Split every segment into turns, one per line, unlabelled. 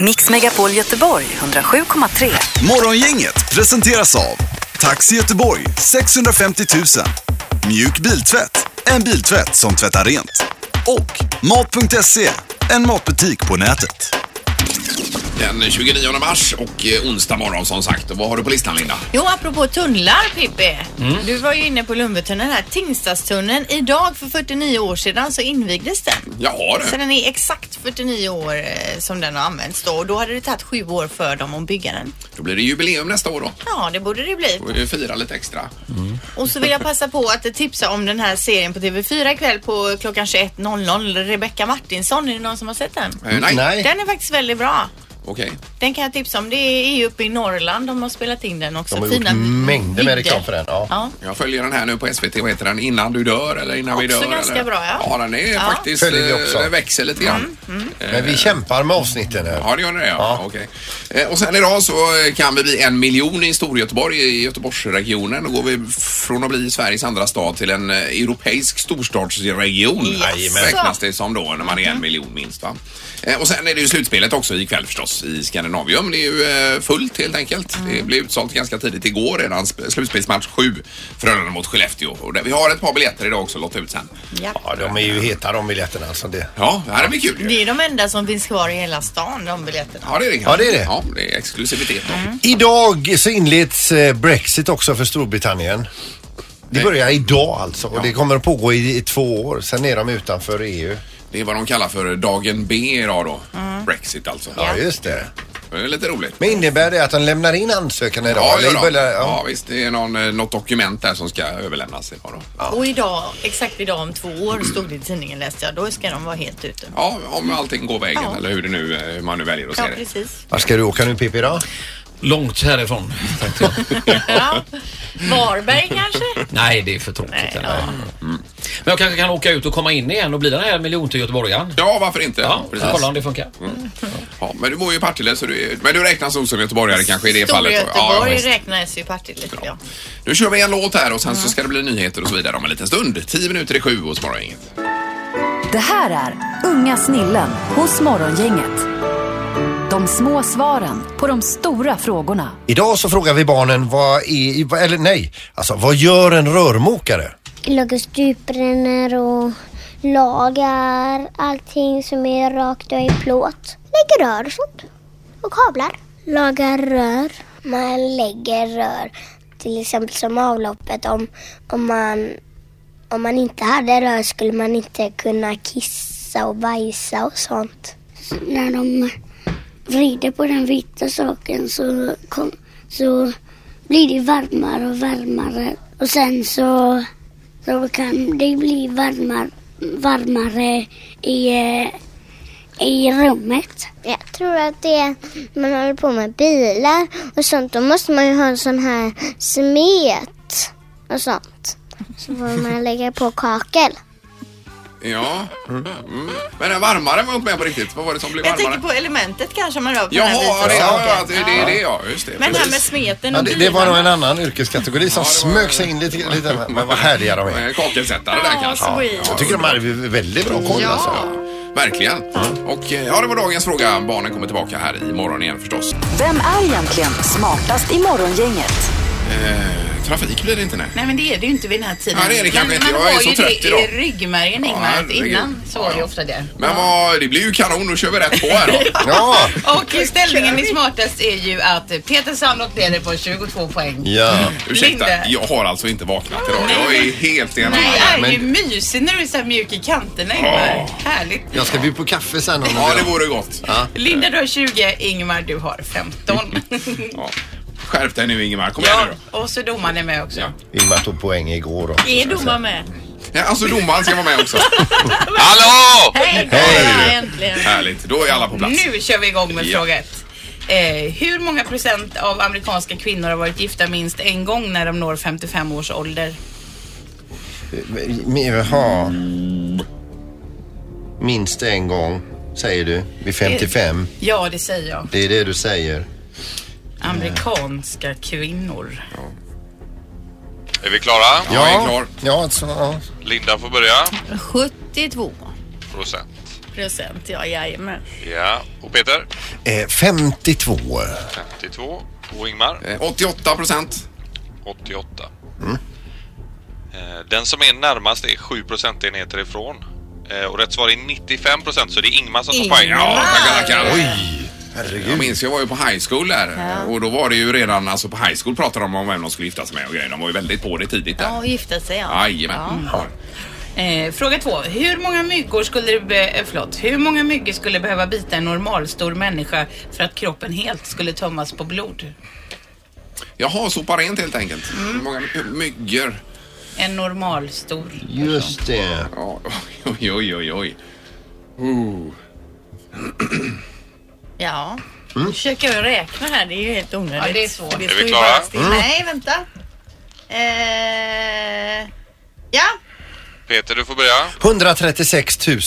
Mix Megapol Göteborg 107,3.
Morgongänget presenteras av Taxi Göteborg 650 000 Mjuk biltvätt, en biltvätt som tvättar rent. Och Mat.se, E, en matbutik på nätet.
Den 29 mars och eh, onsdag morgon som sagt. Och vad har du på listan Linda?
Jo, apropå tunnlar Pippi.
Mm.
Du var ju inne på Lumbetunneln här. Tingstadstunneln. Idag för 49 år sedan så invigdes den.
Jaha
Så
du.
den är exakt 49 år eh, som den har använts då och då hade det tagit sju år för dem att bygga den.
Då blir det jubileum nästa år då.
Ja, det borde det bli.
Får vi fira lite extra.
Mm.
Och så vill jag passa på att tipsa om den här serien på TV4 ikväll på klockan 21.00. Rebecca Martinsson, är det någon som har sett den?
Eh, nej.
Den är faktiskt väldigt bra.
Okej.
Den kan jag tipsa om. Det är ju uppe i Norrland de har spelat in den också.
De har gjort mängder med
vidder.
reklam för den. Ja.
Ja.
Jag följer den här nu på SVT. Vad heter den? Innan du dör eller innan vi dör?
Också ganska
eller?
bra, ja. Mm.
Ja, den är faktiskt...
Följer vi
eh,
också.
Den växer lite grann.
Men vi kämpar med avsnitten här.
Eh, Ja, det gör det. Ja.
Ja.
Okej. Eh, Och sen idag så eh, kan vi bli en miljon i Storgöteborg, i Göteborgsregionen. Då går vi från att bli Sveriges andra stad till en eh, europeisk storstadsregion.
Jajamän.
Räknas det som då när man är en miljon minst. Va? Eh, Och sen är det ju slutspelet också ikväll förstås i Skandinavium. Det är ju eh, fullt helt enkelt. Det blev utsålt ganska tidigt igår redan. Sp- Slutspelsmatch 7, Frölunda mot Skellefteå. Och där, vi har ett par biljetter idag också att lotta ut sen.
Ja.
Ja, de är ju heta de biljetterna. Alltså det.
Ja, det här blir kul ju.
Det är de enda som finns kvar i hela stan, de biljetterna.
Ja, det är det.
Ja, det är det.
Ja, det är exklusivitet. då.
Mm.
Idag så inleds eh, Brexit också för Storbritannien. Det börjar idag alltså och det kommer att pågå i, i två år. Sen är de utanför E EU.
Det är vad de kallar för dagen B idag då. Brexit alltså.
Ja, just det.
Det är lite roligt.
Mm. Men innebär det att de lämnar in ansökan idag?
Ja,
Eller
ja, då.
börjar-
ja, visst. Det är någon, eh, något dokument där som ska överlämnas idag då.
Och idag, exakt idag om två år stod det i tidningen läste jag, då ska de vara helt ute.
Ja, om allting går vägen
Ja.
eller hur, det nu, eh, hur man nu väljer att
Ja,
se det.
precis.
Var ska du åka nu Pippi då?
Långt härifrån. tänkte jag.
Ja. Varberg kanske?
Nej, det är för tråkigt.
Nej,
eller? Mm. Men jag kanske kan åka ut och komma in igen och bli den här miljonte göteborgaren.
Ja, varför inte?
Ja,
precis.
kolla om det funkar.
Ja, men du bor ju i Partille, så du, är- men du räknas nog som göteborgare kanske i det fallet. då. Ja,
Storgöteborg
visst.
räknas ju i Partille lite. Ja.
nu kör vi en låt här och sen
Mm.
så ska det bli nyheter och så vidare om en liten stund. 10 minuter i sju hos Morgongänget.
Det här är Unga snillen hos Morgongänget. De små svaren på de stora frågorna.
Idag så frågar vi barnen vad är, eller nej, alltså vad gör en rörmokare?
lagar stupränner och lagar allting som är rakt och i plåt. Lägger rör och sånt. Och kablar. Lagar rör. Man lägger rör till exempel som avloppet. Om, om, man, om man inte hade rör skulle man inte kunna kissa och bajsa och sånt. När de vrider på den vita saken så, så blir det varmare och varmare. Och sen så då kan det bli varmare, varmare i, eh, i rummet. Jag tror att det är man håller på med bilar och sånt. Då måste man ju ha en sån här smet och sånt. Så får man lägga på kakel.
Ja, mm. men den varmare var jag inte med på riktigt. Vad var det som blev
Jag
varmare?
tänker på elementet kanske man rör på den
Jaha,
här
det,
vita
ja, ja,
saken.
det, det är det ja. Just det.
Men det här
precis.
med smeten
Ja,
och
det, det var nog en
bilarna.
annan yrkeskategori som
Ja, det var-
smög sig in lite, lite men vad härliga de är.
Eh, Kakelsättare där
Ja,
kanske.
sweet.
Jag tycker de hade väldigt bra koll alltså. Mm.
Verkligen. Och eh, ja, det var dagens fråga. Barnen kommer tillbaka här i morgon igen förstås.
Vem är egentligen smartast i Morgongänget?
Eh, trafik blir det inte nej.
Nej men det är det ju inte vid den här tiden.
Ja, det är det kanske
men
inte.
man
Jag är
har
så
ju
trött
det
idag.
i ryggmärgen
Ja,
Ingmar. att
herregud.
innan så var det
Ja.
ju ofta det.
Men vad, det blir ju kanon. Nu kör vi rätt på här då.
Ja,
Och ställningen i smartast är ju att Peter Sandholt leder på 22 poäng.
ja.
Ursäkta,
Linda.
jag har alltså inte vaknat idag. Jag är helt i en annan
Nej,
värld.
jag är ju mysig när du är så här mjuk i kanterna Ingmar. Härligt.
Jag ska bjuda på kaffe sen om du
Ja, det
vill.
vore gott.
Linda du har 20, Ingmar du har 15.
Ja. Skärp dig nu Ingemar. Kom igen nu då.
och så domaren är med också.
Ja.
Ingmar tog poäng igår också.
Är domaren med?
Ja, Alltså domaren ska vara med också. Hallå!
Hej!
Hej.
Äntligen.
Härligt, då är alla på plats.
Nu kör vi igång med
Ja.
fråga ett. Eh, hur många procent av amerikanska kvinnor har varit gifta minst en gång när de når 55 års ålder?
Men, Jaha. eh, Minst en gång, säger du.
Eh.
Vid 55.
Ja, det säger jag.
Det är det du säger.
Amerikanska kvinnor.
Är vi klara?
Ja, jag är klar.
Ja, alltså, ja.
Linda får börja.
72.
Procent.
procent, ja jajamän.
Ja, och Peter?
Eh, 52.
52. Och Ingmar?
Eh, 88 procent. Mm.
88. Eh, Den som är närmast är 7 procentenheter ifrån. Eh, Och rätt svar är 95 procent, så det är Ingmar som tar poäng.
Ja, tackar, tackar.
Oj,
Jag
herregud.
minns, jag var ju på high school där och då var det ju redan, alltså på high school pratade de om vem de skulle gifta sig med och grejer. De var ju väldigt på det tidigt
Ja,
där.
och gifta sig ja.
Jajamän. Mm. Ja.
Eh, fråga två. Hur många myggor skulle det be- eh, förlåt, hur många myggor skulle behöva bita en normalstor människa för att kroppen helt skulle tömmas på blod?
Jaha, sopa rent helt enkelt.
Mm.
Hur många my- myggor?
En normalstor.
Just det.
Ja, oj, oj, oj, oj.
Ja. Nu försöker jag räkna här, det är ju helt onödigt.
Ja, det är svårt.
Det
vi
Är
står ju
klara?
bara
Mm.
still. Nej, vänta. Eh, ja,
Peter, du får börja.
136 000.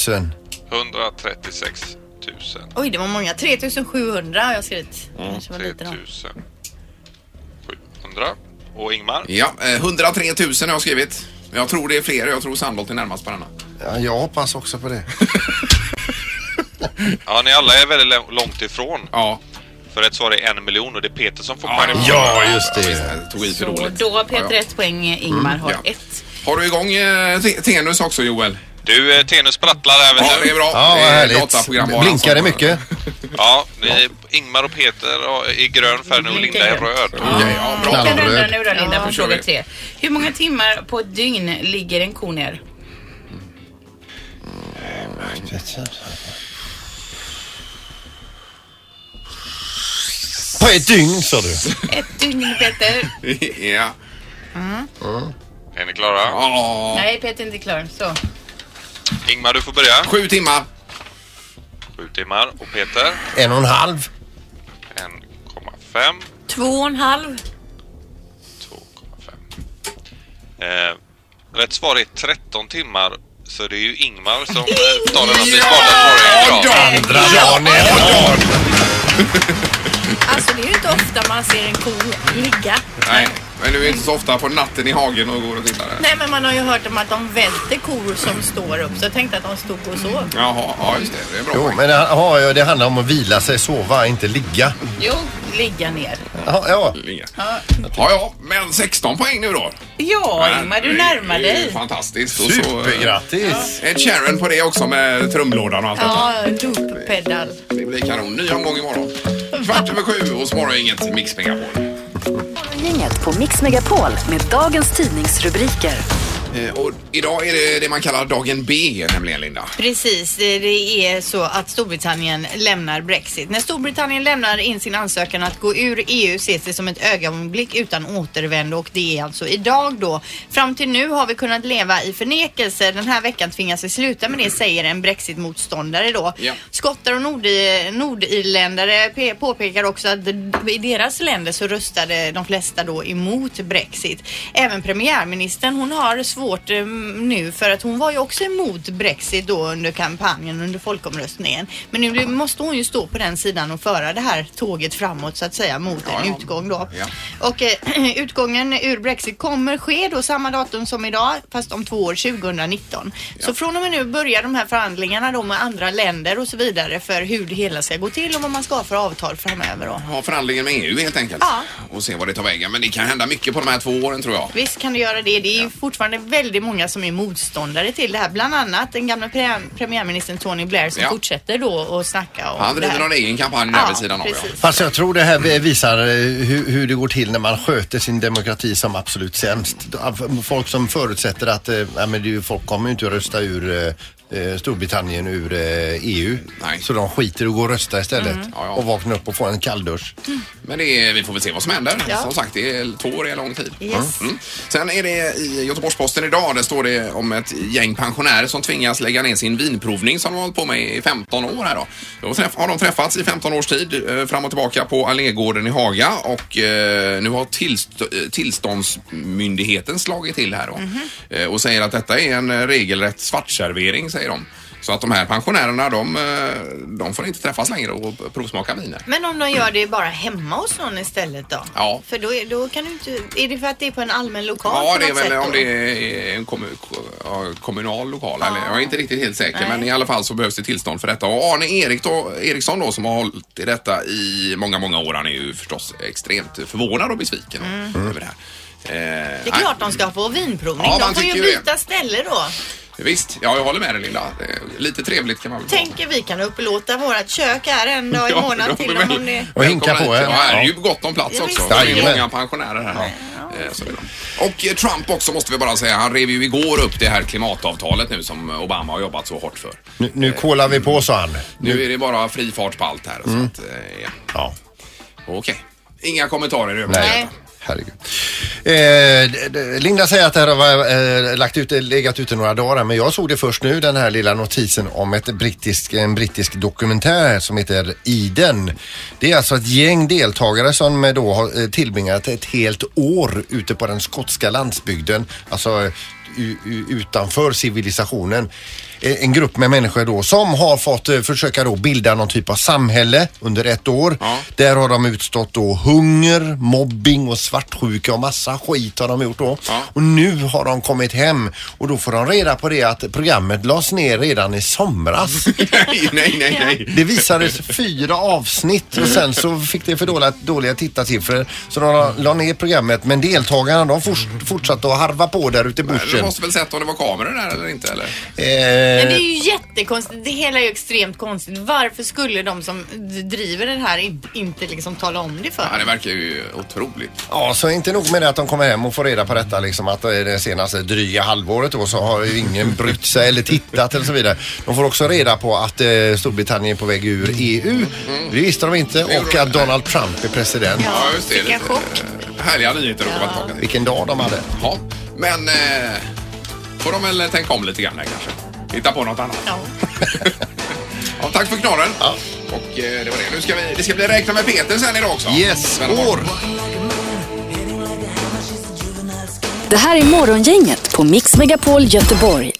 136 000.
oj det var många. 3700 har jag skrivit. Kanske var
3
lite då.
700. Och Ingmar?
Ja, eh, 103 000 har jag skrivit. Men Jag tror det är fler. Jag tror Sandholt är närmast på denna.
Ja, jag hoppas också på det.
Ja, ni alla är väldigt lä- långt ifrån.
Ja.
För rätt svar är en miljon och det är Peter som får poäng.
Ja, just det.
Jag tog i för
Så
dåligt.
då har Peter
Ja, ja.
ett poäng, Ingmar har
ja.
ett.
Har du igång eh, Te- Tenus också, Joel?
Du, eh, Tenus sprattlar där.
Ja,
Vet
det är
du?
bra.
Ja,
Det
vad
är
härligt.
dataprogramvara
Blinkar det
som-
mycket?
Ja, ni, Ingmar och Peter har- är grön färg nu och Linda är röd.
Ja, ja, bra.
Vi kan
Knallröd.
runda nu då Linda
då
på
kör vi.
fråga tre. Hur många timmar på ett dygn ligger en ko ner?
På ett dygn sa du.
Ett dygn Peter.
Ja. Mm.
Är ni klara?
Ja.
Nej Peter är inte klar. Så.
Ingmar, du får börja.
Sju timmar.
Sju timmar. Och Peter?
En och en halv.
1,5.
Två och en halv.
2,5. Eh, rätt svar är 13 timmar. Så det är ju Ingmar som eh, tar den här
Ja,
sparade
Dan!
Andra dagen är
Alltså det är ju inte ofta man ser en ko ligga.
Nej, men du är inte så ofta på natten i hagen och går och tittar där.
Nej men man har ju hört om att de välter kor som står upp så jag tänkte att de stod och sov.
Jaha, ja just det. Det är bra
Jo,
poäng.
men det, ja, ja, det handlar om att vila sig, sova, inte ligga.
Jo, ligga ner.
Ja, ja.
Inga. Ja, ja, men 16 poäng nu då.
Ja Ingmar, du närmar
Det är ju
dig.
Fantastiskt. Och så, eh,
Supergrattis!
Ed Sheeran på det också med trumlådan och allt detta.
Ja, dopedal.
Mm,
Det blir kanon. Ny omgång imorgon. Kvart över sju och så morgon inget Mix Megapol.
Morgongänget på Mix Megapol med dagens tidningsrubriker.
Eh, Och idag är det det man kallar dagen B nämligen Linda.
Precis, det det är så att Storbritannien lämnar Brexit. När Storbritannien lämnar in sin ansökan att gå ur EU ses det som ett ögonblick utan återvändo och det är alltså idag då. Fram till nu har vi kunnat leva i förnekelse. Den här veckan tvingas vi sluta med det säger en Brexit-motståndare då.
Ja.
Skottar och nordi- nordirländare pe- påpekar också att i deras länder så röstade de flesta då emot Brexit. Även premiärministern hon har svårt eh, nu för att hon var ju också emot Brexit då under kampanjen under folkomröstningen. Men nu blir- måste hon ju stå på den sidan och föra det här tåget framåt så att säga mot
Ja,
en
ja.
utgång då.
Ja.
Och eh, utgången ur Brexit kommer ske då samma datum som idag fast om två år 2019. Så från och med nu börjar de här förhandlingarna då med andra länder och så vidare för hur det hela ska gå till och vad man ska ha för avtal framöver då.
Ha förhandlingen med EU helt enkelt.
Ja.
Och se vad det tar vägen. Men det kan hända mycket på de här två åren tror jag.
Visst kan du göra det. Det är ju fortfarande väldigt många som är motståndare till det här. Bland annat den gamla pre premiärministern Tony Blair som
Ja.
fortsätter då att snacka om
Han
det
driver
här.
någon egen kampanj där
Ja,
vid sidan av. Ja.
precis.
Fast jag tror det här visar eh, hur, hur det går till när man sköter sin demokrati som absolut sämst. Folk som förutsätter att eh, ja, men det är ju- folk kommer ju inte att rösta ur eh, eh, Storbritannien ur eh, EU.
Nej. Mm.
Så de skiter och går och röstar istället.
Ja, ja.
Och vaknar upp och får en kalldusch.
Men det är, vi får väl se vad som händer.
Ja.
Som sagt, det är två år är lång tid.
Yes.
Mm. Sen är det i Göteborgs-Posten idag, där står det om ett gäng pensionärer som tvingas lägga ner sin vinprovning som de har hållit på med i 15 år här då. Då träff- har de träffats i 15 års tid eh, fram och tillbaka på Allégården i Haga och eh, nu har tillst eh,
Mhm.
tillståndsmyndigheten slagit till här då eh, och säger att detta är en eh, regelrätt svartservering säger de Så att de här pensionärerna, de, eh, de får inte träffas längre och provsmaka viner.
Men om de gör det bara hemma hos någon istället då?
Ja.
För då, är, då kan du inte... Är det för att det är på en allmän lokal
Ja,
på
det är
något
väl
sätt
om
då?
det är en kommu- ja, kommunal lokal. Eller, jag är inte riktigt helt säker,
Nej.
men i alla fall så behövs det tillstånd för detta. Och Arne Erik då, Eriksson då, som har hållit i detta i många, många år, han är ju förstås extremt förvånad och besviken över det här. Eh,
Mm. Det är klart de ska få vinprovning.
Ja, man
de får ju
tycker ju det.
byta ställe då.
nej, Visst, ja, jag håller med dig Linda. Eh, Lite trevligt kan man väl vara.
Tänker vi kan upplåta vårt kök här en dag i
Ja,
månaden
då
till
blir
om
man-
hon är...
Och hinka
Välkomna
på
hit.
en.
Ja, här är
Ja.
ju gott om plats
Ja,
också.
visst.
Det är ju
Jajamän.
många pensionärer här. Eh, Så det är bra. Och eh, Trump också måste vi bara säga. Han rev ju igår upp det här klimatavtalet nu som Obama har jobbat så hårt för.
Nu, nu kolar vi på, sa han. Mm.
Nu är det bara fri fart på allt här. Så att, eh, ja.
Ja.
Okej. Inga kommentarer över
Nej.
Herregud. Eh, d- d- Linda säger att det här har eh, lagt ut, legat ute några dagar men jag såg det först nu den här lilla notisen om ett brittisk, en brittisk dokumentär här som heter Iden. Det är alltså ett gäng deltagare som eh, då har eh, tillbringat ett helt år ute på den skotska landsbygden, alltså eh, u- u- utanför civilisationen. Eh, En grupp med människor då som har fått eh, försöka då bilda någon typ av samhälle under ett år.
Ja.
Där har de utstått då hunger, mobbing och svartsjuka och massa skit har de gjort då.
Ja.
Och nu har de kommit hem och då får de reda på det att programmet lades ner redan i somras.
Nej, nej, nej, nej.
Det visades fyra avsnitt och sen så fick det för dåliga, dåliga tittarsiffror så de la, la ner programmet men deltagarna de forts, fortsatte att harva på där ute i
Du
bushen.
måste väl sett om det var kameror där eller inte? Eller?
Men det
Eh,
är ju jättekonstigt. Det hela är ju extremt konstigt. Varför skulle de som d- driver den här in- inte liksom tala om det
Ja,
för?
det verkar ju otroligt.
Ja, så inte nog med det att de kommer hem och får reda på detta liksom att det är det senaste dryga halvåret då så har ju ingen brytt sig eller tittat eller så vidare. De får också reda på att eh, Storbritannien är på väg ur EU. Det visste de inte och att Donald Trump är president.
Ja, just det.
Vilken
Lite,
chock.
eh, Härliga nyheter att komma tillbaka till.
Vilken dag de hade.
Ja, men eh, får de väl tänka om lite grann här kanske. Hitta på något annat.
Ja.
Ja, tack för knorren. Och eh, det var det. Nu ska vi, det ska bli räkna med Peter sen idag också.
Yes,
Spännande.
år.
Det här är Morgongänget på Mix Megapol Göteborg.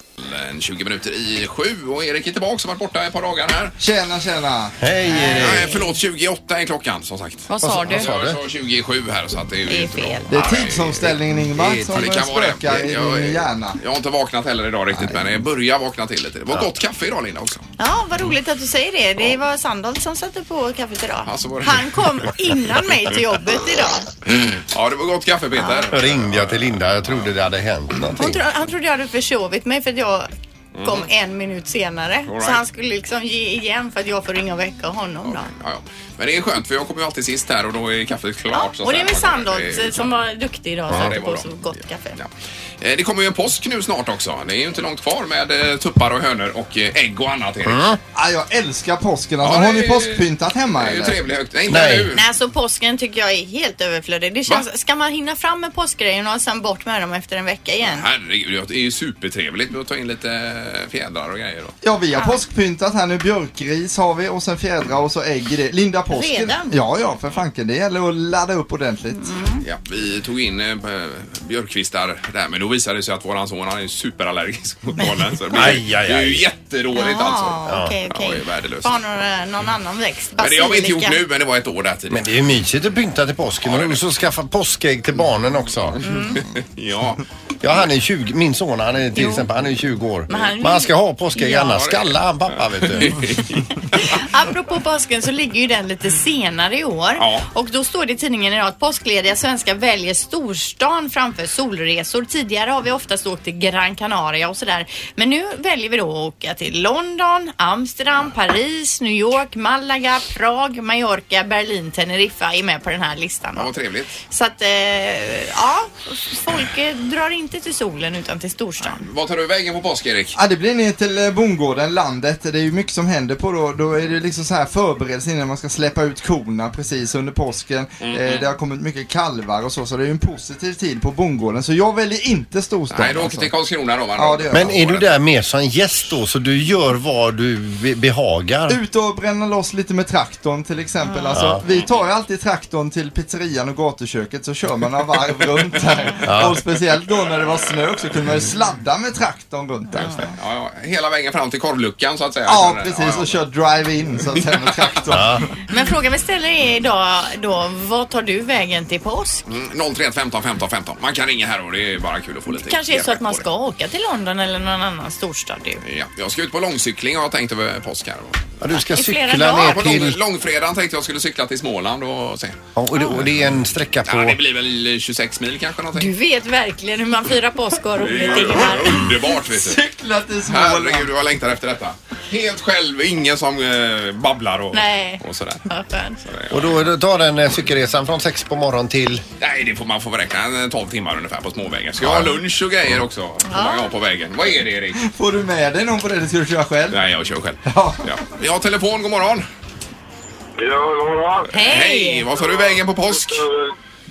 En 20 minuter i sju och Erik är tillbaka som varit borta ett par dagar här. Eh,
Tjena, tjena.
Hej Erik!
Nej, förlåt, 28 är klockan som sagt.
Vad sa du?
vad sa
Jag
du?
sa 27 här så att det är ju
Det är
inte bra.
fel.
Det är
Ja,
tidsomställningen Ingmar
Ja,
som
det kan vara
spökar
det.
i
Jag,
min
jag,
hjärna.
jag har inte vaknat heller idag riktigt men jag börjar vakna till lite. Det var gott kaffe idag Linda också.
Ja, vad roligt att du säger det. Det var Sandholt som satte på kaffet idag.
Ja, så var det.
Han kom innan mig till jobbet idag.
Ja, det var gott kaffe Peter.
Då ringde jag till Linda, jag trodde det hade hänt
Hon
någonting.
tro, han trodde jag hade försovit mig för att jag kom en minut senare.
Mm. right.
Så han skulle liksom ge igen för att jag får ringa och väcka honom då.
Ja, ja. Men det är skönt för jag kommer ju alltid sist här och då är kaffet klart.
Ja,
så
och det
sen.
är väl Sandholt
Det är-
eh, som var duktig idag och
det
satte
var
på
bra.
så gott kaffe.
Ja. Eh, Det kommer ju en påsk nu snart också. Det är ju inte långt kvar med eh, tuppar och hönor och eh, ägg och annat Erik.
Mm.
Ah, jag älskar påsken. Alltså,
Ja,
har
det
ni
är-
påskpyntat
Det
hemma
är ju
eller?
trevlig högt. Nej, inte
Nej.
nu.
Nej, så påsken tycker jag är helt överflödig. Det känns,
Va?
ska man hinna fram med påskgrejerna och sen bort med dem efter en vecka igen?
Herregud, det är ju supertrevligt med att ta in lite eh, fjädrar och grejer. Då.
Ja, vi har påskpyntat här nu. Björkris har vi och sen fjädrar och så ägg i det. Linda påsken.
Redan?
Ja, ja, för fanken. Det gäller att ladda upp ordentligt.
Ja, vi tog in eh, björkkvistar där, men då visade det sig att våran son han är superallergisk mot bollen. Så det, blir,
Aj, aj, aj.
det är ju jättedåligt alltså.
Ah, okej,
Ja,
okej.
det är värdelöst.
Bara några, någon annan växt.
Men det har vi inte gjort
Basilika.
nu, men det var ett år där tidigare.
Men det är ju mysigt att pynta till påsken men också skaffa påskägg till barnen också.
Mm. Ja,
Ja, han är 20, min son han är till exempel, han är 20 år. Men
Men han-
han, ska ha påskägg
Ja.
annars skallar han pappa vet du.
Apropå påsken så ligger ju den lite senare i år.
Ja.
Och då står det i tidningen idag att påsklediga svenskar väljer storstan framför solresor. Tidigare har vi oftast åkt till Gran Canaria och sådär. Men nu väljer vi då att åka till London, Amsterdam, Paris, New York, Malaga, Prag, Mallorca, Berlin, Teneriffa är med på den här listan.
det var
Då.
trevligt.
Så att, eh, ja, folk eh, drar inte till solen utan till storstan.
Vad tar du vägen på påsk, Erik?
Ja, det blir ner till eh, bondgården, landet. Det är ju mycket som händer på då. Då är det
Mm-hmm.
liksom så här förberedelser innan man ska släppa ut korna precis under påsken. Eh, det har kommit mycket kalvar kalvar och så, så det är ju en positiv tid på bondgården. Så jag väljer inte alltså. storstan.
Nej, du åker
alltså.
till Karlskrona då. va?
Ja, det gör
Men är du där mer som gäst då så du gör vad du be- behagar?
Ut och bränna loss lite med traktorn till exempel. Alltså,
Ja.
Vi tar ju alltid traktorn till pizzerian och gatuköket så kör man några varv runt där. Och speciellt då när det var snö också kunde man ju sladda med traktorn runt där. Ja,
Ja, ja. Hela vägen fram till korvluckan så att säga. eh,
precis och kör drive-in så att säga med traktorn.
Men frågan vi ställer är idag då, vad tar du vägen till påsk?
Mm, 031 15 15 15. Man kan ringa här och det är bara kul att få lite
Kanske är det så
feedback
att man
på det.
ska åka till London eller någon annan storstad du.
Ja, jag ska ut på långcykling har jag tänkt över påsk här.
Ja, du ska
I flera
cykla
dagar
ner
På lång,
till...
långfredagen tänkte jag skulle cykla till Småland och se.
Ja, och, det, och det är en sträcka
Ja, det
på...
blir väl 26 mil kanske någonting.
Du vet verkligen hur man firar påsk och
Det
roligt
är ju
Ingemar.
Underbart vet du.
Cykla till Småland.
Herregud, jag längtar efter detta. Helt själv, ingen som eh, babblar och,
Nej.
och sådär.
Vad skönt.
Och då då tar den eh, cykelresan från sex på morgonen till...
Nej, det får man får räkna en 12 timmar ungefär på småvägen. Ska jag ha lunch och grejer också? Får man ha på vägen. Vad är det Erik?
Får du med dig någon på det? Det ska du köra själv.
Nej, jag kör själv.
Ja.
Ja. Vi har telefon, god morgon.
Ja, god morgon.
Hej! Vad tar du vägen på påsk?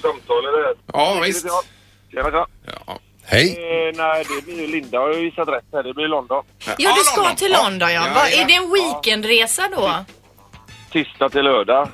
Samtalet där.
Ja, visst.
Tjena, tja.
Ja.
Hej!
nej, det blir ju Linda har ju gissat rätt här. Det blir London.
Ja, du ska till London ja. Vad- Är
jajamän.
det en weekendresa då?
Tisdag till lördag.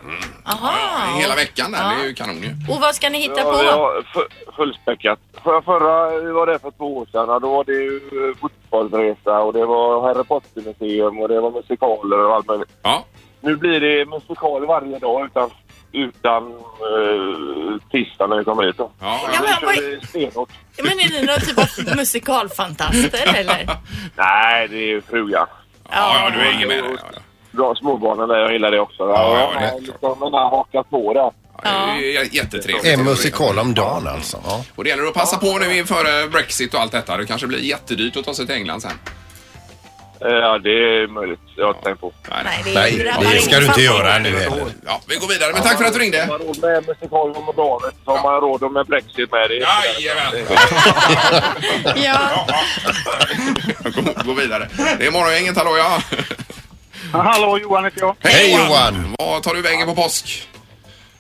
Aha.
Hela veckan där,
Ja.
det är ju kanon ju.
Och vad ska ni hitta
Ja,
på?
ja, fu- fullspäckat. För, förra det var det för två år sedan. och Då var det ju eh, fotbollsresa och det var Harry Potter-museum och det var musikaler och allt möjligt.
Ja.
Nu blir det musikal varje dag utan, utan eh, tisdag när vi kommer hit. Då.
Ja,
Ja,
ja.
men
Nu
vad-
kör vi stenhårt.
Men är ni någon typ av musikalfantaster eller?
Nej, det är ju frugan.
ja, ja, du är ingen med dig. Ja,
bra småbarnen där. Jag gillar det också.
Ja, ja, det är
jag har liksom den här hakat på det.
ja. Det är ju Jättetrevligt.
En musikal om dagen alltså. Ja.
Och det gäller att passa på nu inför eh, Brexit och allt detta. Det kanske blir jättedyrt att ta sig till England sen.
Eh, Ja, det är möjligt. Jag har inte tänkt på.
Nej, det,
Nej,
drabbar
det ska du
ingen
inte
familj.
göra nu heller.
Ja, vi går vidare, men tack för att du
Har
ringde.
man råd med musikalen om dagen så har man råd med Brexit med. Det är
Jajamän!
Ja.
Gå- Gå vidare. Det är morgongänget, hallå ja.
Hallå, Johan heter jag.
Hej Johan!
Vad tar du vägen på påsk?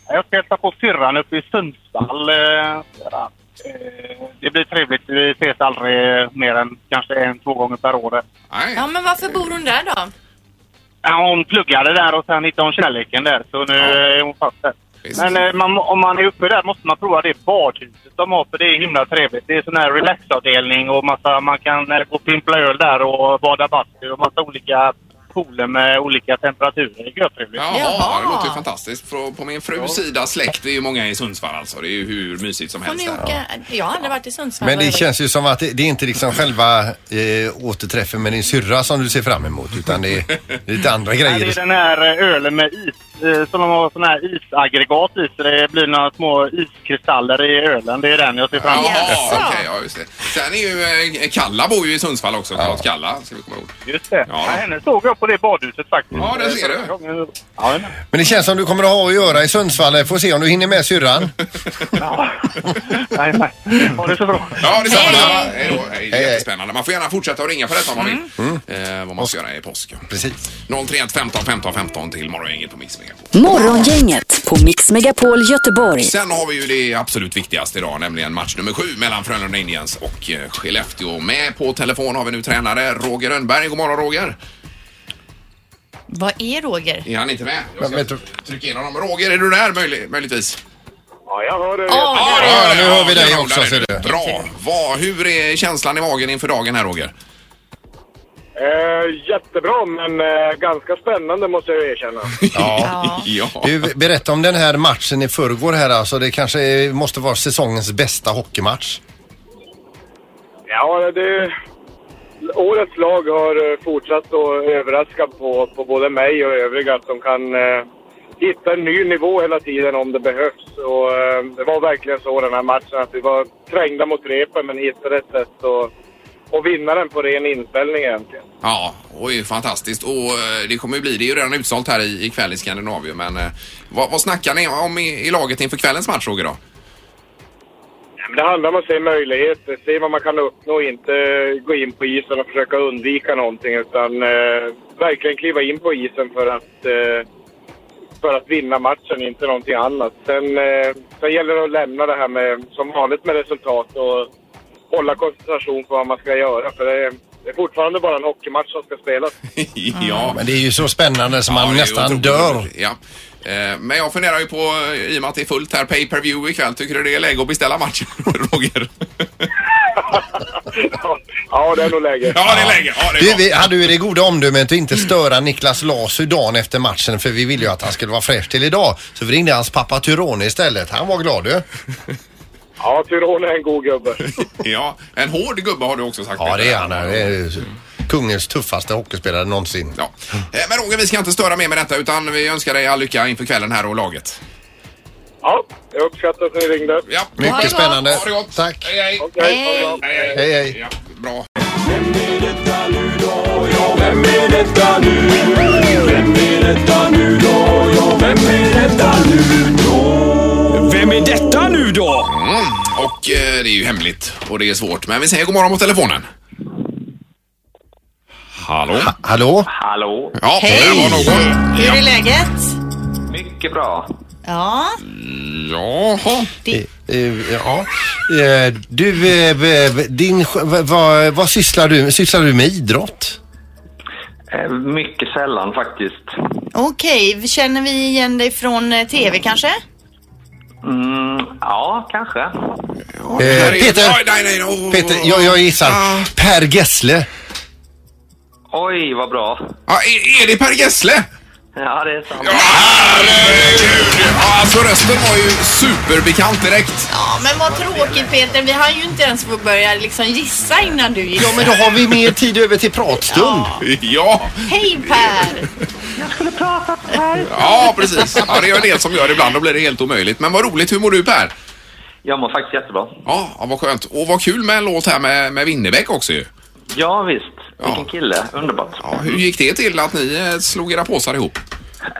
Jag ska hälsa på syrran uppe i Sundsvall. eh, syrran. Eh, Det blir trevligt. Vi ses aldrig mer än kanske en, två gånger per år.
Nej.
ja, men varför bor hon där då?
Ja, Hon pluggade där och sen hittade hon kärleken där, så nu
Ja.
är hon fast där.
Visst.
Men eh, man, om man är uppe där måste man prova det badhuset de har, för det är himla trevligt. Det är sån här relaxavdelning och massa, man kan eh, gå och pimpla öl där och bada bastu och massa olika pooler med olika temperaturer. Det är görtrevligt.
Jaha,
Jaha.
det låter ju fantastiskt. På, på min frus sida släkt, det är ju många i Sundsvall alltså. Det är ju hur mysigt som
Får ni
helst där.
åka? Jag har aldrig varit i Sundsvall.
Men det
Erik.
känns ju som att det, det är inte liksom själva eh, återträffen med din syrra som du ser fram emot utan det är lite andra
Ja, Det är
grejer.
den här eh, ölen med is, eh, som de har sån här isaggregat i, så det blir några små iskristaller i ölen. Det är den jag ser fram emot.
Jaha,
Jaså.
okej, ja just det. Sen är ju eh, Kalla bor ju i Sundsvall också, Charlotte Kalla. Ska vi komma ihåg.
Just det.
Ja.
Ja. henne såg jag på det badhuset faktiskt.
Ja, där ser du.
du. Ja, men-
Men det känns som du kommer att ha att göra i Sundsvall. Får se om du hinner med syrran.
ja. Nej, nej. Ha det så bra.
Ja, detsamma.
Hej.
Hej då. Hej,
Hej, hej.
Jättespännande. Man får gärna fortsätta att ringa för detta om man vill.
Mm.
Eh, vad man ska göra i påsk.
Precis.
031 15 15 15 till morgongänget på Mix Megapol.
Morgongänget på Mix Megapol Göteborg.
Sen har vi ju det absolut viktigaste idag, nämligen match nummer sju mellan Frölunda Indians och eh, Skellefteå. Med på telefon har vi nu tränare Roger Rönnberg. God morgon Roger!
Vad är Roger?
Är han inte med?
Men
Jag
vet
ska
du-
trycka in honom. Roger, är du där möjli- möjligtvis?
Ja, jag hör det.
Ja,
det
Ja,
är
nu
det.
hör vi
det
dig
är
också,
där.
ser du.
Bra! Vad- hur är känslan i magen inför dagen här Roger?
Eh, jättebra, men eh, ganska spännande måste jag erkänna.
Ja.
Ja.
Du, berätta om den här matchen i förrgår här alltså. Det kanske är- måste vara säsongens bästa hockeymatch.
Ja, det... Årets lag har eh, fortsatt att överraska på, på både mig och övriga att de kan eh, hitta en ny nivå hela tiden om det behövs. Och, eh, det var verkligen så den här matchen att vi var trängda mot repen men hittade ett sätt att, att vinna den på ren inställning egentligen.
Ja, oj, fantastiskt. Och eh, det kommer ju bli, det är ju redan utsålt här i- ikväll i Skandinavien. Men eh, vad, vad snackar ni om i, i laget inför kvällens match Roger då?
Ja, men det handlar om att se möjligheter, se vad man kan uppnå och inte gå in på isen och försöka undvika någonting utan eh, verkligen kliva in på isen för att eh, för att vinna matchen, inte någonting annat. Sen, eh, sen gäller det att lämna det här med, som vanligt med resultat och hålla koncentration på vad man ska göra. För det är, det är fortfarande bara en hockeymatch som ska spelas.
Ja.
Men det är ju så spännande som man
det är
nästan
otroligt.
dör.
Ja. Eh, Men jag funderar ju på, eh, i och med att det är fullt här, pay per view ikväll. Tycker du det är läge att beställa matchen, Roger?
Ja, det är nog läge.
Ja, det är läge. Ja, det är
Du,
bra.
vi hade ju det goda omdömet att inte störa Niklas Lasu dagen efter matchen för vi ville ju att han skulle vara fräsch till idag. Så vi ringde hans pappa Tyrone istället. Han var glad du.
Ja, Tyrone är en god gubbe.
Ja, en hård gubbe har du också sagt.
Ja
Peter.
det är han. Det är kungens tuffaste hockeyspelare någonsin.
Ja. Eh, Men Roger, vi ska inte störa mer med detta utan vi önskar dig all lycka inför kvällen här och laget.
Ja, jag uppskattar att ni ringde.
Ja.
Mycket
Ha det gott.
spännande.
Ha det gott.
Tack.
Hej, hej.
Okej, ha det bra.
Hej, hej.
Hej hej.
Ja, bra.
Vem är detta nu då?
Mm, Och eh, det är ju hemligt och det är svårt. Men vi säger god morgon på telefonen. Hallå?
Hallå?
Hallå?
Ja,
Hej.
det var någon.
Hur är läget?
Mycket bra.
Ja.
Jaha.
Det,
Eh, Ja. Eh, Du, eh, v- din, sj- v- vad, vad sysslar du med? Sysslar du med idrott?
Eh, Mycket sällan faktiskt.
Okej, känner vi igen dig från eh, TV kanske?
Mm, ja, kanske.
Eh,
Här är-
Peter,
Oj, nej, nej, oh.
Peter jag, jag gissar. Per Gessle.
Oj, vad bra.
Ja, är, är det Per Gessle?
Ja, det är sant.
Ja, herregud! Ja, alltså rösten var ju superbekant direkt.
Ja, men vad tråkigt Peter. Vi har ju inte ens fått börja liksom gissa innan du
Ja
gissar.
men då har vi mer tid över till pratstund.
Ja,
Hej Per!
ja precis. Ja, det är en del som gör det ibland. Då blir det helt omöjligt. Men vad roligt. Hur mår du Per?
Jag mår faktiskt jättebra.
Ja, ja vad skönt. Och vad kul med en låt här med, med Winnerbäck också ju.
Ja, visst. Vilken kille. Underbart.
Ja, hur gick det till att ni eh, slog era påsar ihop?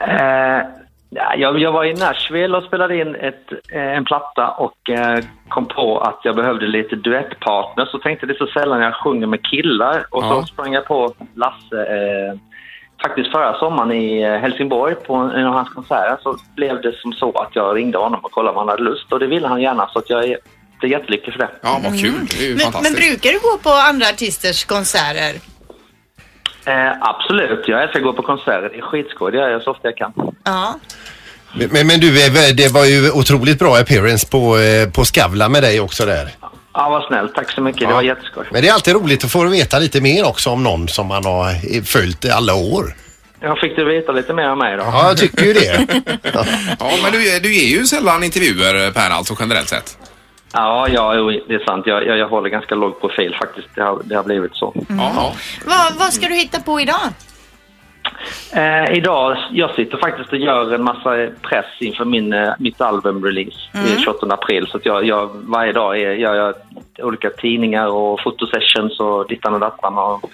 Eh, ja, jag, jag var i Nashville och spelade in ett, eh, en platta och eh, kom på att jag behövde lite duettpartners och tänkte det är så sällan jag sjunger med killar. Och
Ja.
så sprang jag på Lasse eh, faktiskt förra sommaren i eh, Helsingborg på en en av hans konserter. Så blev det som så att jag ringde honom och kollade om han hade lust och det ville han gärna så att jag är det är jättelycklig för det.
Ja, vad kul. Det är ju
Mm. Men, men
fantastiskt.
brukar du gå på andra artisters konserter?
Eh, absolut, jag älskar att gå på konserter. Det är skitskoj, det gör jag så ofta jag kan.
Ja.
Men, men du, eh, det var ju otroligt bra appearance på, eh, på Skavlan med dig också där.
Ja, vad snällt. Tack så mycket, det var jätteskoj.
Men det är alltid roligt att få veta lite mer också om någon som man har eh, följt i alla år.
Jag fick du veta lite mer om mig då?
Ja, jag tycker ju det.
Ja, men du, du ger ju sällan intervjuer Per alltså generellt sett.
Ja, ja jo, det är sant. Jag, jag, jag håller ganska låg profil faktiskt. Det har, det har blivit så.
Mm.
Ja,
Vad, vad ska du hitta på idag?
Eh, idag, jag sitter faktiskt och gör en massa press inför min, eh, mitt albumrelease
Mm.
i 28 april. Så att jag, jag, varje dag är, gör jag olika tidningar och fotosessions och dittan och dattan. Och,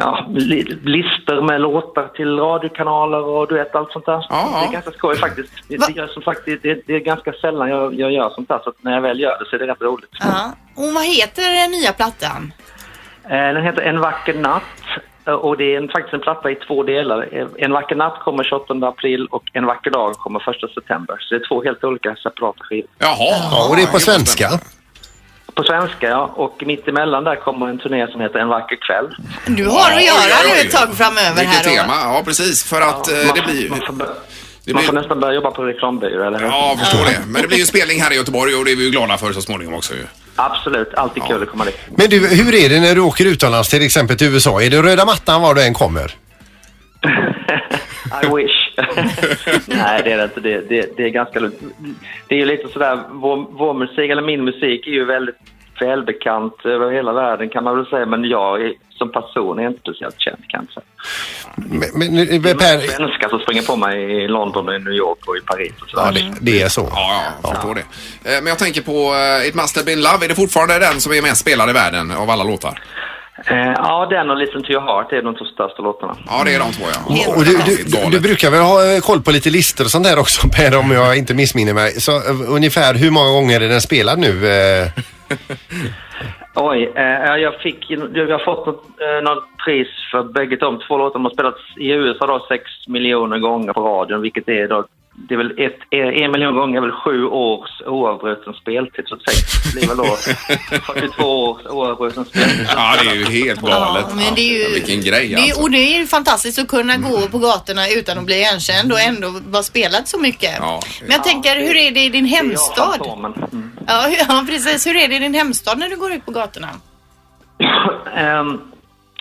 ja, li, listor med låtar till radiokanaler och du vet allt sånt där.
ja.
Det är ganska skoj faktiskt. Det, det, gör- som sagt, det, det, det är ganska sällan jag, jag gör sånt där. Så att när jag väl gör det så är det rätt roligt.
Ja. Och vad heter den nya plattan?
Eh, Den heter En vacker natt eh, och det är en, faktiskt en platta i två delar. Eh, En vacker natt kommer 28 april och En vacker dag kommer 1 september. Så det är två helt olika separata skivor.
Jaha.
Ja, och det är på svenska.
På svenska ja, och mitt emellan där kommer en turné som heter En vacker kväll.
Du har att
Oj,
göra
oj, oj.
nu ett tag framöver
Vilket
här. då.
tema. Ja, precis. För att eh,
man,
det blir ju...
man, får, bör-
det
man
blir-
får nästan börja jobba på reklambyrå, eller hur?
Ja, jag förstår det. Men det blir ju spelning här i Göteborg och det är vi ju glada för så småningom också ju.
Absolut, alltid kul att komma dit.
Men du, hur är det när du åker utomlands, till exempel till USA? Är det röda mattan var du än kommer?
I wish. Nej, det är det inte. Det, det, det är ganska lugnt. Det är ju lite sådär, vår, vår musik, eller min musik, är ju väldigt välbekant över hela världen kan man väl säga, men jag är, som person är inte speciellt känd kanske.
Men, men,
Det är
men
mest
Per,
svenskar som springer på mig i London, och i New York och i Paris och sådär.
ja, det, det är så.
Ja, ja, jag förstår det. Eh, Men jag tänker på eh, It must have been love. Är det fortfarande den som är mest spelad i världen av alla låtar?
Eh, ja, den och Listen to your heart är de två största låtarna.
Ja, det är de två ja.
Och du, du, du, du brukar väl ha eh, koll på lite listor och sånt där också Per om jag inte missminner mig. Så eh, ungefär hur många gånger är den spelad nu? eh?
Oj, eh, jag fick, jag har fått något, eh, något pris för bägge de två låtarna. De har spelats i USA då 6 miljoner gånger på radion, vilket är då, det är väl ett, eh, en miljon gånger är väl sju års oavbruten speltid, så sex blir väl då 42 års oavbruten speltid.
Ja, det är ju helt galet.
Ja, men det är ju-
Ja, Vilken grej
Det,
alltså.
och det är ju fantastiskt att kunna gå på gatorna utan att bli igenkänd och ändå vara spelat så mycket. Men jag tänker, hur är det i din hemstad? Ja, hur- ja, precis. Hur är det i din hemstad när du går ut på gatorna?
Ehm,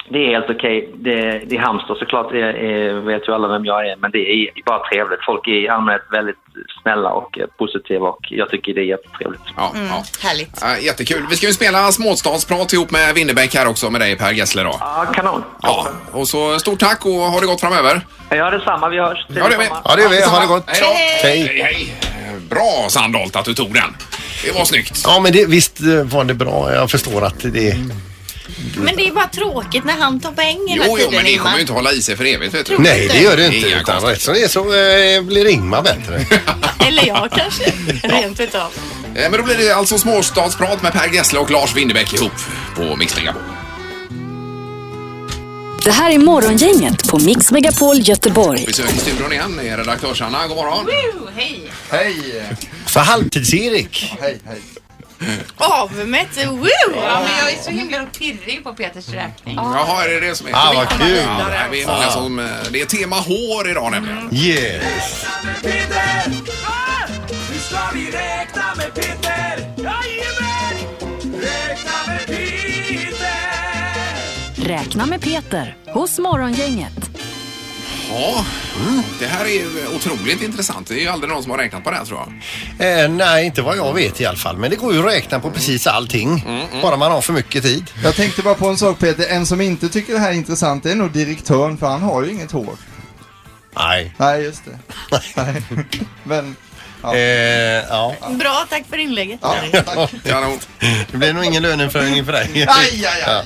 det är helt okej. Det, det är Halmstad såklart, det är, eh, vet ju alla vem jag är, men det är bara trevligt. Folk är i allmänhet väldigt snälla och eh, positiva och jag tycker det är jättetrevligt.
Ja, ja.
Härligt.
Ja, jättekul. Vi ska ju spela småstadsprat ihop med Winnerbäck här också med dig Per Gessle då.
Ja, kanon.
Ja, och så stort tack och ha det gott framöver.
Ja, detsamma. Vi hörs.
Ja, det är vi.
Ja, det är vi. Ha det gott.
Hej då.
Hej.
Hej, hej. Bra Sandholt att du tog den. Det var snyggt.
Ja, men det, visst eh, var det bra. Jag förstår att det...
Men det är bara tråkigt när han tar poäng hela
Jo, jo,
tiden,
men det
Ingmar.
kommer ju inte hålla i sig för evigt vet du.
Nej, det gör det
Inga
inte. Utan
konstigheter.
rätt som det är så eh, blir Ingmar bättre.
Eller jag kanske, rent utav.
Eh, Men då blir det alltså småstadsprat med Per Gessle och Lars Winnerbäck ihop på Mix Megapol.
Det här är Morgongänget på Mix Megapol Göteborg.
Besök i studion igen är redaktörs-Anna. God morgon.
Oh,
Hej!
Hej!
Så halvtids-Erik.
Hej, hej.
Avmätt, woo!
Ja, men jag är så himla pirrig på Peters räkning.
Jaha, är det det som är?
Ah, vad kul.
Ja, nej, vi är många
Ah.
som, eh, det är tema hår idag nämligen.
Yes.
Peter! Nu ska vi räkna med Peter! Jajamän! Räkna med Peter!
Räkna med Peter hos Morgongänget.
Ja, mm, det här är ju otroligt intressant. Det är ju aldrig någon som har räknat på det här tror jag.
Eh, nej, inte vad jag vet i alla fall. Men det går ju att räkna på precis allting.
Mm,
Bara man har för mycket tid.
Jag tänkte bara på en sak Peter, en som inte tycker det här är intressant är nog direktören för han har ju inget hår.
Nej.
Nej, just det. Nej. Men, ja.
Eh, ja.
Bra, tack för inlägget.
Det blir nog ingen löneförhöjning för dig.
Aj, aj, aj.
Ja.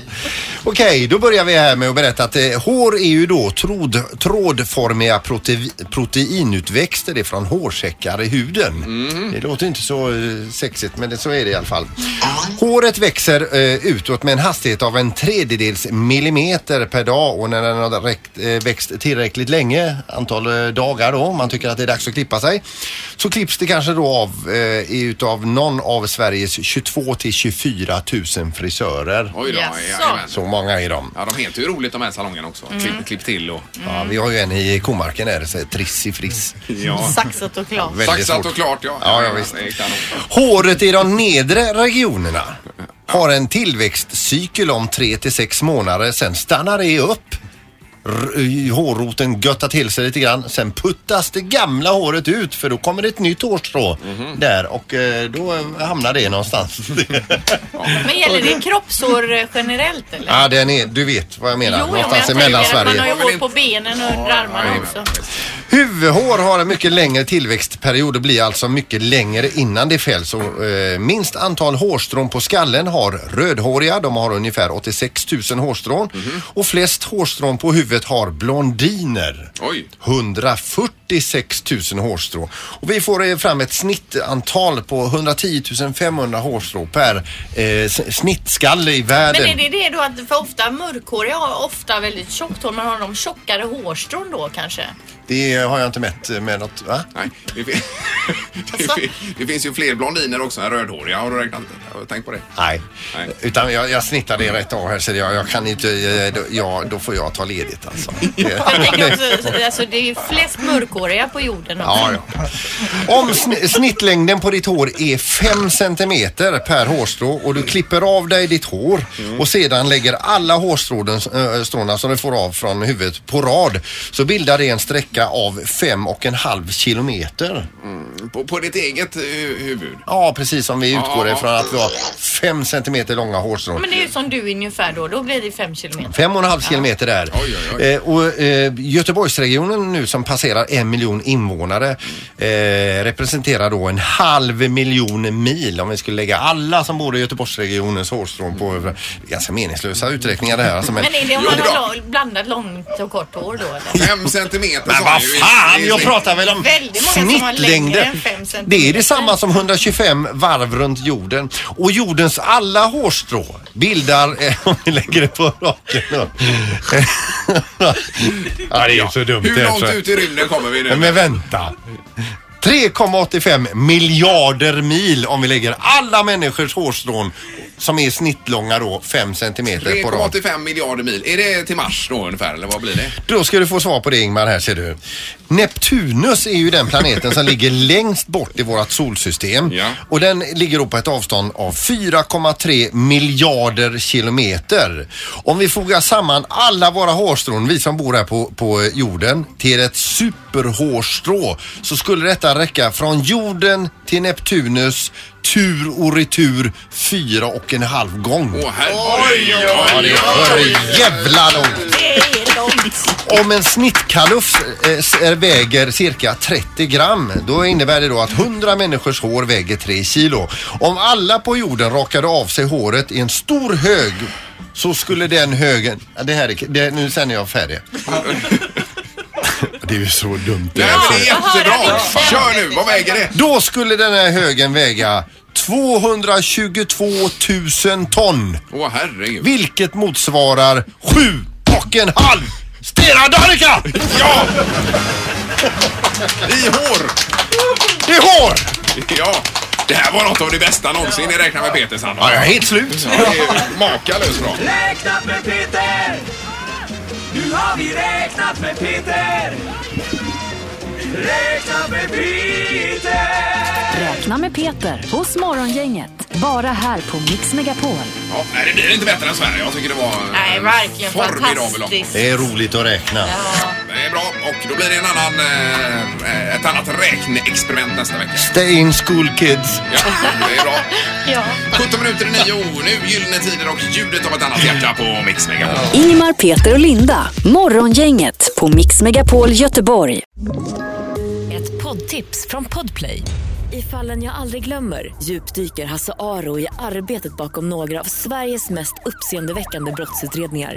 Okej, då börjar vi här med att berätta att eh, hår är ju då tråd, trådformiga prote- proteinutväxter ifrån hårsäckar i huden. Det låter inte så eh, sexigt men det, så är det i alla fall. Håret växer eh, utåt med en hastighet av en tredjedels millimeter per dag och när den har räckt, eh, växt tillräckligt länge, antal eh, dagar då, om man tycker att det är dags att klippa sig, så klipps det kanske då av eh, utav någon av Sveriges 22 till 24 000 frisörer.
Oj då, Jaså. jajamän.
Så många är de.
Ja, de heter ju roligt de här salongerna också.
Mm.
Klipp, klipp till och...
Ja, vi har ju en i komarken där, så här, Trissi Friss.
Saxat och klart.
Väldigt
Saxat
svårt.
och klart, ja.
Ja, ja, visst.
Det är kanon.
Håret i de nedre regionerna har en tillväxtcykel om 3 till 6 månader, sen stannar det upp. R- hårroten göttar till sig lite grann, sen puttas det gamla håret ut för då kommer det ett nytt hårstrå där och eh, då hamnar det någonstans.
Men gäller det kroppshår eh, generellt eller?
ja, den är, du vet vad jag menar.
Jo, jo, men jag
någonstans
tänker
i
att
Mellansverige.
Man har ju hår på benen och under armarna också.
Huvudhår har en mycket längre tillväxtperiod och blir alltså mycket längre innan det fälls. Och, eh, minst antal hårstrån på skallen har rödhåriga. De har ungefär 86 000 hårstrån. Och flest hårstrån på huvudet har blondiner. 146 000 hårstrån. Och vi får eh, fram ett snittantal på 110 500 hårstrån per eh, s- snittskalle i världen.
Men är det det då att för ofta mörkhåriga har ofta väldigt tjockt hår men har de tjockare hårstrån då kanske?
Det har jag inte mätt eh, med något, va?
Nej, det, fin- det, fin- det finns ju fler blondiner också än rödhåriga. Har du räknat? Tänk på det.
Nej. Utan jag, jag snittar det rätt av här så jag, jag kan inte, eh, då- ja, då får jag ta ledigt alltså.
Jag tänker också, alltså det är ju flest mörkhåriga på jorden också.
Ja, ja. Om sn- snittlängden på ditt hår är 5 centimeter per hårstrå och du klipper av dig ditt hår
Mm.
och sedan lägger alla hårstrån eh, stråna som du får av från huvudet på rad så bildar det en sträcka av fem och en halv kilometer.
Mm, På, på ditt eget eh, huvud.
Ja, precis som vi utgår
Ja.
ifrån att vi har 5 centimeter långa hårstrån.
Men det är ju som du ungefär då, då blir det fem kilometer.
Fem och en halv kilometer där. Eh, och eh, Göteborgsregionen nu som passerar en miljon invånare eh, representerar då en halv miljon mil om vi skulle lägga alla som bor i Göteborgsregionens hårstrån på
Mm.
det är ganska meningslösa uträkningar det här. Alltså,
Men är det om man har la- blandat långt och kort hår då eller?
Fem centimeter
Men
sa
vad
jag ju.
fan,
Det är
jag
snyggt.
pratar väl om
Väldigt många som har längre
snittlängder.
än fem centimeter.
Det är detsamma som 125 varv runt jorden. Och jordens Kroppens alla hårstrå bildar, eh, om vi lägger det på raken då. ja, det är ju så dumt.
Hur
det är
långt
så-
ut i rymden kommer vi nu?
Men vänta. 3,85 miljarder mil om vi lägger alla människors hårstrån som är snittlånga då 5 centimeter på rad.
3,85 miljarder mil. Är det till Mars då ungefär eller vad blir det?
Då ska du få svar på det Ingmar här ser du. Neptunus är ju den planeten som ligger längst bort i vårt solsystem. Och den ligger då på ett avstånd av 4,3 miljarder kilometer. Om vi fogar samman alla våra hårstrån, vi som bor här på, på jorden, till ett superhårstrå så skulle detta räcka från jorden till Neptunus tur och retur fyra och en halv gång.
Åh herregud!
Ja, det är för jävla långt. Om en snittkalufs eh, s- eh, väger cirka 30 gram, då innebär det då att 100 människors hår väger 3 kilo. Om alla på jorden rakade av sig håret i en stor hög så skulle den högen... Ja, Det här är, det, nu känner jag färdig. Det är ju så dumt.
Nej, men det är jättebra!
Fan.
Kör nu, vad väger det?
Då skulle den här högen väga 222 000 ton.
Åh herregud.
Vilket motsvarar sju och en halv Stena-Danica! Ja!
I hår!
I hår!
Ja, det här var något av det bästa någonsin i Räkna med Peter Sandholm.
Ja, jag är helt slut.
Ja, det är makalöst bra.
Räknat med Peter! Nu har vi räknat med Peter! Räknat med Peter!
Räkna med Peter hos Morgongänget. Bara här på Mix Megapol.
Ja, nej, det blir inte bättre än så här. Jag tycker det var eh,
Nej, verkligen
formidabel
fantastiskt.
Det är roligt att räkna.
Det är bra och då blir det en annan, eh, ett annat räkneexperiment nästa vecka.
Stay in school kids.
Ja, det är bra. 17 minuter i nio, nu Gyllene Tider och ljudet av ett annat hjärta på Mix Megapol.
Ingmar, Peter och Linda. Morgongänget på Mix Megapol Göteborg.
Ett poddtips från Podplay. I fallen jag aldrig glömmer djupdyker Hasse Aro i arbetet bakom några av Sveriges mest uppseendeväckande brottsutredningar.